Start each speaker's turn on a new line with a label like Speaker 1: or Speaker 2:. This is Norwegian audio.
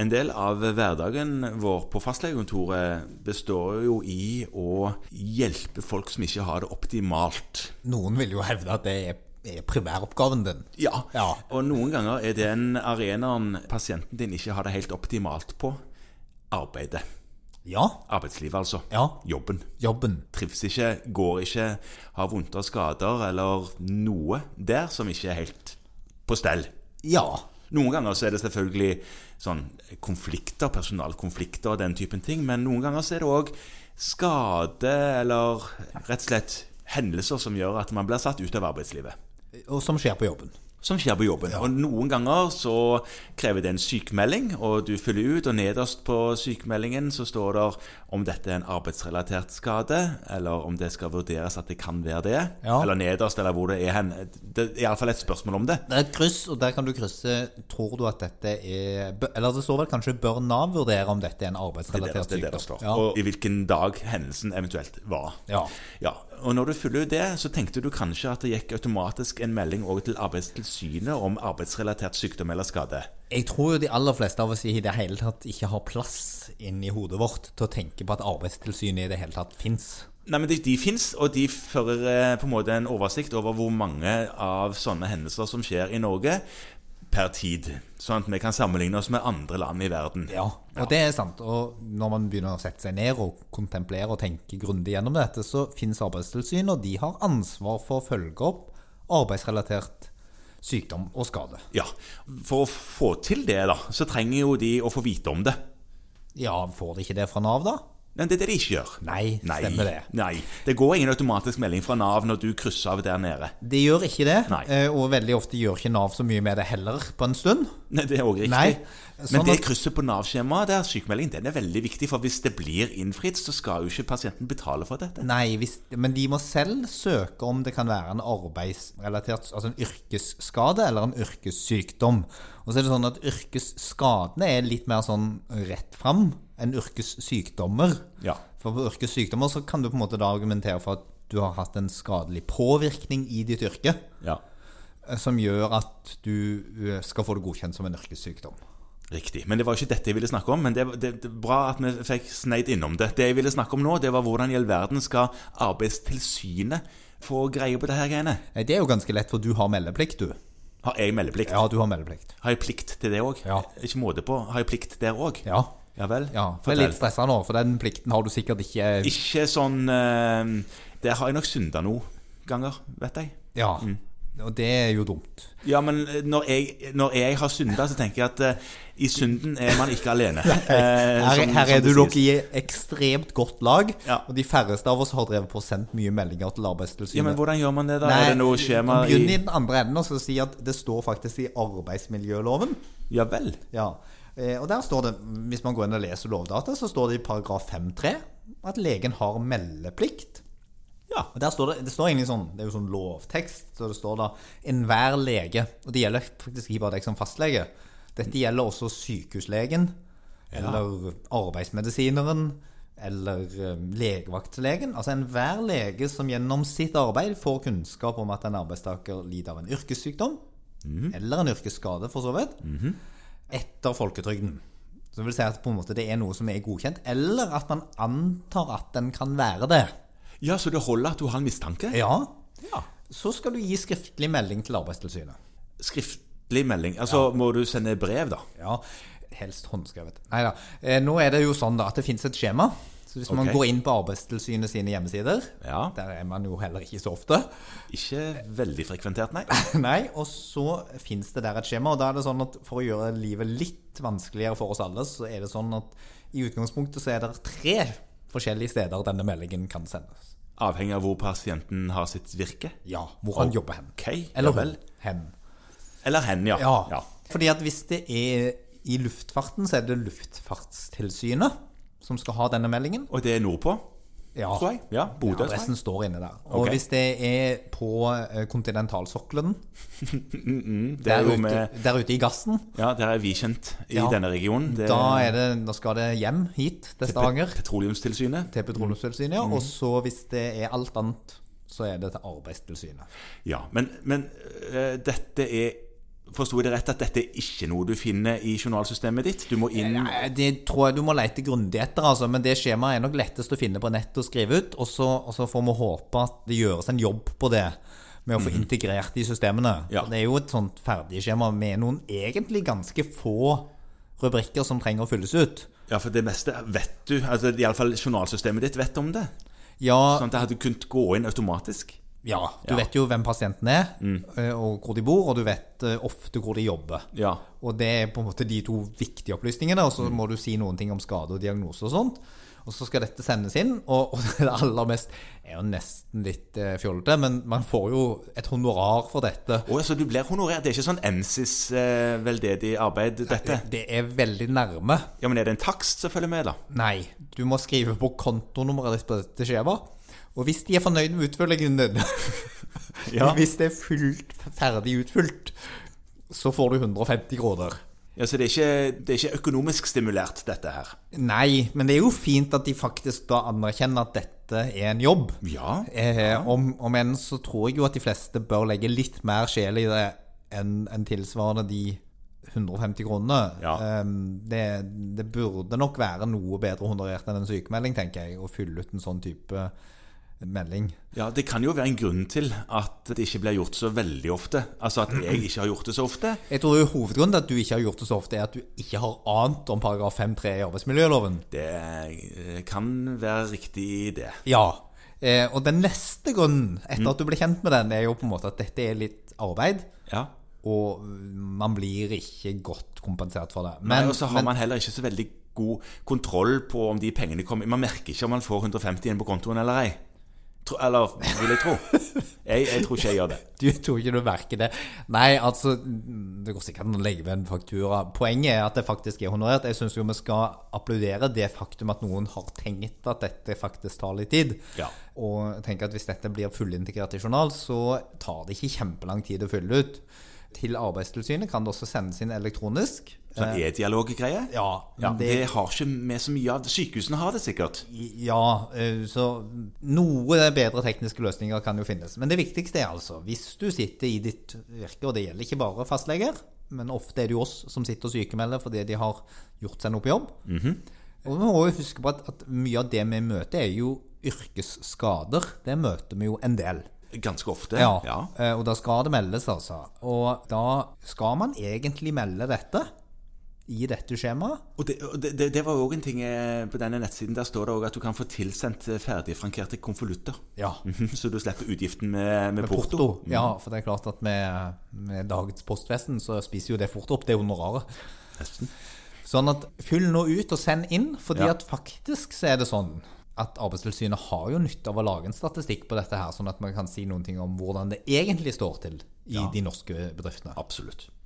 Speaker 1: En del av hverdagen vår på fastlegekontoret består jo i å hjelpe folk som ikke har det optimalt.
Speaker 2: Noen vil jo hevde at det er, er primæroppgaven din.
Speaker 1: Ja.
Speaker 2: Ja.
Speaker 1: Og noen ganger er den arenaen pasienten din ikke har det helt optimalt på, arbeidet.
Speaker 2: Ja.
Speaker 1: Arbeidslivet, altså.
Speaker 2: Ja.
Speaker 1: Jobben.
Speaker 2: Jobben.
Speaker 1: Trives ikke, går ikke, har vondter og skader eller noe der som ikke er helt på stell.
Speaker 2: Ja.
Speaker 1: Noen ganger så er det selvfølgelig sånn konflikter, personalkonflikter og den typen ting, men noen ganger så er det òg skade eller rett og slett hendelser som gjør at man blir satt ut av arbeidslivet.
Speaker 2: Og som skjer på jobben.
Speaker 1: Som skjer på jobben. Og noen ganger så krever det en sykemelding, og du fyller ut, og nederst på sykemeldingen så står det om dette er en arbeidsrelatert skade, eller om det skal vurderes at det kan være det.
Speaker 2: Ja.
Speaker 1: Eller nederst, eller hvor det er hen. Det er iallfall et spørsmål om det.
Speaker 2: Det er et kryss, og der kan du krysse Tror du at dette er bø- Eller det står vel kanskje Bør Nav vurdere om dette er en
Speaker 1: Det er
Speaker 2: arbeidsrelatert
Speaker 1: det, det, er det det
Speaker 2: sykdom?
Speaker 1: står.
Speaker 2: Ja.
Speaker 1: Og i hvilken dag hendelsen eventuelt var.
Speaker 2: Ja.
Speaker 1: Ja, Og når du fyller ut det, så tenkte du kanskje at det gikk automatisk en melding også til Arbeidstilsynet om arbeidsrelatert sykdom eller skade.
Speaker 2: Jeg tror jo de aller fleste av oss i det hele tatt ikke har plass inni hodet vårt til å tenke på at Arbeidstilsynet i det hele tatt fins.
Speaker 1: Nei, men De, de fins, og de fører eh, på en måte en oversikt over hvor mange av sånne hendelser som skjer i Norge per tid. Sånn at vi kan sammenligne oss med andre land i verden.
Speaker 2: Ja, og det er sant. Og når man begynner å sette seg ned og kontemplere og tenke grundig gjennom dette, så finnes Arbeidstilsynet, og de har ansvar for å følge opp arbeidsrelatert sykdom og skade.
Speaker 1: Ja, For å få til det, da, så trenger jo de å få vite om det.
Speaker 2: Ja, får de ikke det fra Nav, da?
Speaker 1: Men det er det de ikke gjør.
Speaker 2: Nei, stemmer det.
Speaker 1: Nei. Det går ingen automatisk melding fra Nav når du krysser av der nede.
Speaker 2: De gjør ikke det,
Speaker 1: Nei.
Speaker 2: eh, og veldig ofte gjør ikke Nav så mye med det heller på en stund.
Speaker 1: Nei, Det er også riktig.
Speaker 2: Nei,
Speaker 1: Men
Speaker 2: sånn
Speaker 1: det
Speaker 2: at-
Speaker 1: krysset på Nav-skjemaet der, sykemelding, den er veldig viktig. For hvis det blir innfridd, så skal jo ikke pasienten betale for dette.
Speaker 2: Nei, hvis, men de må selv søke om det kan være en arbeidsrelatert, altså en yrkesskade eller en yrkessykdom. Og så er det sånn at yrkesskadene er litt mer sånn rett fram enn yrkessykdommer.
Speaker 1: Ja.
Speaker 2: For på yrkessykdommer så kan du på en måte da argumentere for at du har hatt en skadelig påvirkning i ditt yrke,
Speaker 1: Ja.
Speaker 2: eh, som gjør at du eh, skal få det godkjent som en yrkessykdom.
Speaker 1: Riktig. Men det var jo ikke dette jeg ville snakke om. Men det, det, det er bra at vi fikk sneid innom det. Det jeg ville snakke om nå, det var hvordan i all verden skal Arbeidstilsynet få greie på det her greiene?
Speaker 2: Eh, Det er jo ganske lett, for du har meldeplikt, du.
Speaker 1: Har jeg meldeplikt?
Speaker 2: Ja, du har meldeplikt.
Speaker 1: Har jeg plikt til det òg?
Speaker 2: Ja.
Speaker 1: Ikke måte på. Har jeg plikt der òg?
Speaker 2: Ja.
Speaker 1: Ja vel?
Speaker 2: ja. Det er
Speaker 1: Fortell.
Speaker 2: litt stressa nå, for den plikten har du sikkert ikke
Speaker 1: Ikke sånn eh, Der har jeg nok synda noen ganger, vet jeg.
Speaker 2: Ja,
Speaker 1: Mm.
Speaker 2: og det er jo dumt.
Speaker 1: Ja, men eh, når jeg, når jeg har synda, så tenker jeg at eh, i synden er man ikke alene. Eh,
Speaker 2: Her,
Speaker 1: som-
Speaker 2: her
Speaker 1: som
Speaker 2: er du
Speaker 1: det
Speaker 2: nok
Speaker 1: sies.
Speaker 2: i ekstremt godt lag,
Speaker 1: Ja.
Speaker 2: og de færreste av oss har drevet på og sendt mye meldinger til
Speaker 1: Ja, men
Speaker 2: Arbeidstilsynet.
Speaker 1: hvordan gjør man det, da? er det noe skjema
Speaker 2: Begynn i
Speaker 1: i
Speaker 2: den andre enden og så si at det står faktisk i arbeidsmiljøloven.
Speaker 1: Ja vel.
Speaker 2: Ja, eh, og der står det, Hvis man går inn og leser Lovdata, så står det i paragraf 5-3 at legen har meldeplikt.
Speaker 1: Ja.
Speaker 2: Og der står Det det står egentlig sånn, det er jo sånn lovtekst, så det står da enhver lege Og det gjelder faktisk ikke bare deg som fastlege. Dette gjelder også sykehuslegen, eller arbeidsmedisineren, eller eh, legevaktlegen. Altså enhver lege som gjennom sitt arbeid får kunnskap om at en arbeidstaker lider av en yrkessykdom, eller en yrkesskade, for så vidt, etter folketrygden. Så det vil si at på en måte det er noe som er godkjent, eller at man antar at den kan være det.
Speaker 1: Ja, Så det holder at du har en mistanke?
Speaker 2: Ja.
Speaker 1: Ja.
Speaker 2: Så skal du gi skriftlig melding til Arbeidstilsynet.
Speaker 1: Skriftlig melding. Altså, må du sende brev, da?
Speaker 2: Ja, helst håndskrevet. Nei da. Eh, nå er det jo sånn da at det finnes et skjema. Så hvis man
Speaker 1: Ok.
Speaker 2: går inn på Arbeidstilsynet sine hjemmesider,
Speaker 1: Ja.
Speaker 2: der er man jo heller ikke så ofte,
Speaker 1: Ikke veldig frekventert, nei.
Speaker 2: Nei, og så finnes det der et skjema, og da er det sånn at for å gjøre livet litt vanskeligere for oss alle, så er det sånn at i utgangspunktet så er det tre forskjellige steder denne meldingen kan sendes.
Speaker 1: Avhengig av hvor pasienten har sitt virke.
Speaker 2: Ja, hvor han jobber hen.
Speaker 1: Ok, ja
Speaker 2: Eller
Speaker 1: vel.
Speaker 2: hun. Hen.
Speaker 1: Eller hen, ja.
Speaker 2: Ja. Fordi at hvis det er i luftfarten, så er det Luftfartstilsynet som skal ha denne meldingen.
Speaker 1: Og det er nordpå,
Speaker 2: Ja.
Speaker 1: tror jeg. Ja, Bodø. tror jeg.
Speaker 2: Adressen står inne der. Og
Speaker 1: Ok.
Speaker 2: hvis det er på eh, kontinentalsokkelen,
Speaker 1: det er
Speaker 2: der,
Speaker 1: jo
Speaker 2: ute-
Speaker 1: med,
Speaker 2: der ute i gassen,
Speaker 1: ja, der er vi kjent i
Speaker 2: Ja.
Speaker 1: denne regionen. Det,
Speaker 2: da, er det, da skal det hjem hit til Stavanger.
Speaker 1: Petroleumstilsynet.
Speaker 2: Til Petroleumstilsynet, ja. Og så hvis det er alt
Speaker 1: Mm.
Speaker 2: annet, så er det til Arbeidstilsynet.
Speaker 1: Ja, men, men eh, dette er Forsto jeg det rett at dette er ikke noe du finner i journalsystemet ditt? Du må inn
Speaker 2: Nei, Det tror jeg du må lete grundig etter, altså. men det skjemaet er nok lettest å finne på nettet og skrive ut. Og så, og så får vi håpe at det gjøres en jobb på det med å få integrert de systemene.
Speaker 1: Ja.
Speaker 2: Det er jo et sånt ferdig skjema med noen egentlig ganske få rubrikker som trenger å fylles ut.
Speaker 1: Ja, for det meste vet du. Altså, Iallfall journalsystemet ditt vet om det.
Speaker 2: Ja,
Speaker 1: Sånn at det hadde kunnet gå inn automatisk.
Speaker 2: ja du
Speaker 1: Ja. Mm.
Speaker 2: vet jo hvem pasienten er, eh, og hvor de bor, og du vet eh, ofte hvor de jobber.
Speaker 1: Ja. Mm.
Speaker 2: Og det er på en måte de to viktige opplysningene, og så må du si noen ting om skade og diagnose og sånt. Og så skal dette sendes inn, og, og det aller mest er jo nesten litt eh, fjollete, men man får jo et honorar for dette.
Speaker 1: Å, så du blir honorert? Det er ikke sånn emsis eh, veldedig arbeid, dette?
Speaker 2: Det er veldig nærme.
Speaker 1: Ja, men er det en takst som følger med, da?
Speaker 2: Nei, du må skrive på kontonummeret ditt på dette skjemaet. Og hvis de er fornøyd med utfyllingen din,
Speaker 1: Ja.
Speaker 2: hvis det er fullt, ferdig utfylt, så får du 150 kroner.
Speaker 1: Ja, Så det er ikke, det er ikke økonomisk stimulert, dette her?
Speaker 2: Nei, men det er jo fint at de faktisk da anerkjenner at dette er en jobb.
Speaker 1: Ja.
Speaker 2: Eh, om, om enn så tror jeg jo at de fleste bør legge litt mer sjel i det enn enn tilsvarende de 150 kronene.
Speaker 1: Ja.
Speaker 2: Eh, det, det burde nok være noe bedre honorert enn en sykemelding, tenker jeg, å fylle ut en sånn type melding.
Speaker 1: Ja, Det kan jo være en grunn til at det ikke blir gjort så veldig ofte. Altså at jeg ikke har gjort det så ofte.
Speaker 2: Jeg tror jo hovedgrunnen til at du ikke har gjort det så ofte, er at du ikke har ant om paragraf 5-3 i arbeidsmiljøloven.
Speaker 1: Det eh, kan være riktig i det.
Speaker 2: Ja. Eh, og den neste grunnen, etter at du ble kjent med den, er jo på en måte at dette er litt arbeid.
Speaker 1: Ja.
Speaker 2: Og man blir ikke godt kompensert for det.
Speaker 1: Men, og så har man heller ikke så veldig god kontroll på om de pengene kommer Man merker ikke om man får 150 igjen på kontoen eller ei. Tro, eller vil jeg tro. Jeg, jeg tror ikke jeg gjør det.
Speaker 2: Du tror ikke du merker det? Nei, altså Det går sikkert an å legge ved en faktura. Poenget er at det faktisk er honorert. Jeg syns jo vi skal applaudere det faktum at noen har tenkt at dette faktisk tar litt tid.
Speaker 1: Ja.
Speaker 2: Og tenker at hvis dette blir fullintegrert i journal, så tar det ikke kjempelang tid å fylle ut. Til Arbeidstilsynet kan det også sendes inn elektronisk.
Speaker 1: Sånn e-dialoggreie.
Speaker 2: Ja,
Speaker 1: Ja,
Speaker 2: det-
Speaker 1: det har ikke vi så mye av. Sykehusene har det sikkert.
Speaker 2: Ja, eh, så noe bedre tekniske løsninger kan jo finnes. Men det viktigste er altså, hvis du sitter i ditt virke, og det gjelder ikke bare fastleger, men ofte er det jo oss som sitter og sykemelder fordi de har gjort seg noe på jobb. Og vi må jo huske på at, at mye av det vi møter er jo yrkesskader. Det møter vi jo en del.
Speaker 1: Ganske ofte.
Speaker 2: Ja,
Speaker 1: Ja.
Speaker 2: eh, og da skal det meldes, altså. Og da skal man egentlig melde dette i dette skjemaet.
Speaker 1: Og det, og det, det- det var jo òg en ting eh, på denne nettsiden. Der står det òg at du kan få tilsendt eh, ferdigfrankerte konvolutter.
Speaker 2: Ja.
Speaker 1: Mhm, Så du slipper utgiften med, med, porto. Mm.
Speaker 2: Porto. Ja, for det er klart at med, med dagens postvesen så spiser jo det fort opp det honoraret. Sånn at fyll nå ut og send inn, fordi
Speaker 1: Ja.
Speaker 2: at faktisk så er det sånn at Arbeidstilsynet har jo nytte av å lage en statistikk på dette her, sånn at man kan si noen ting om hvordan det egentlig står til i de norske bedriftene.
Speaker 1: Absolutt.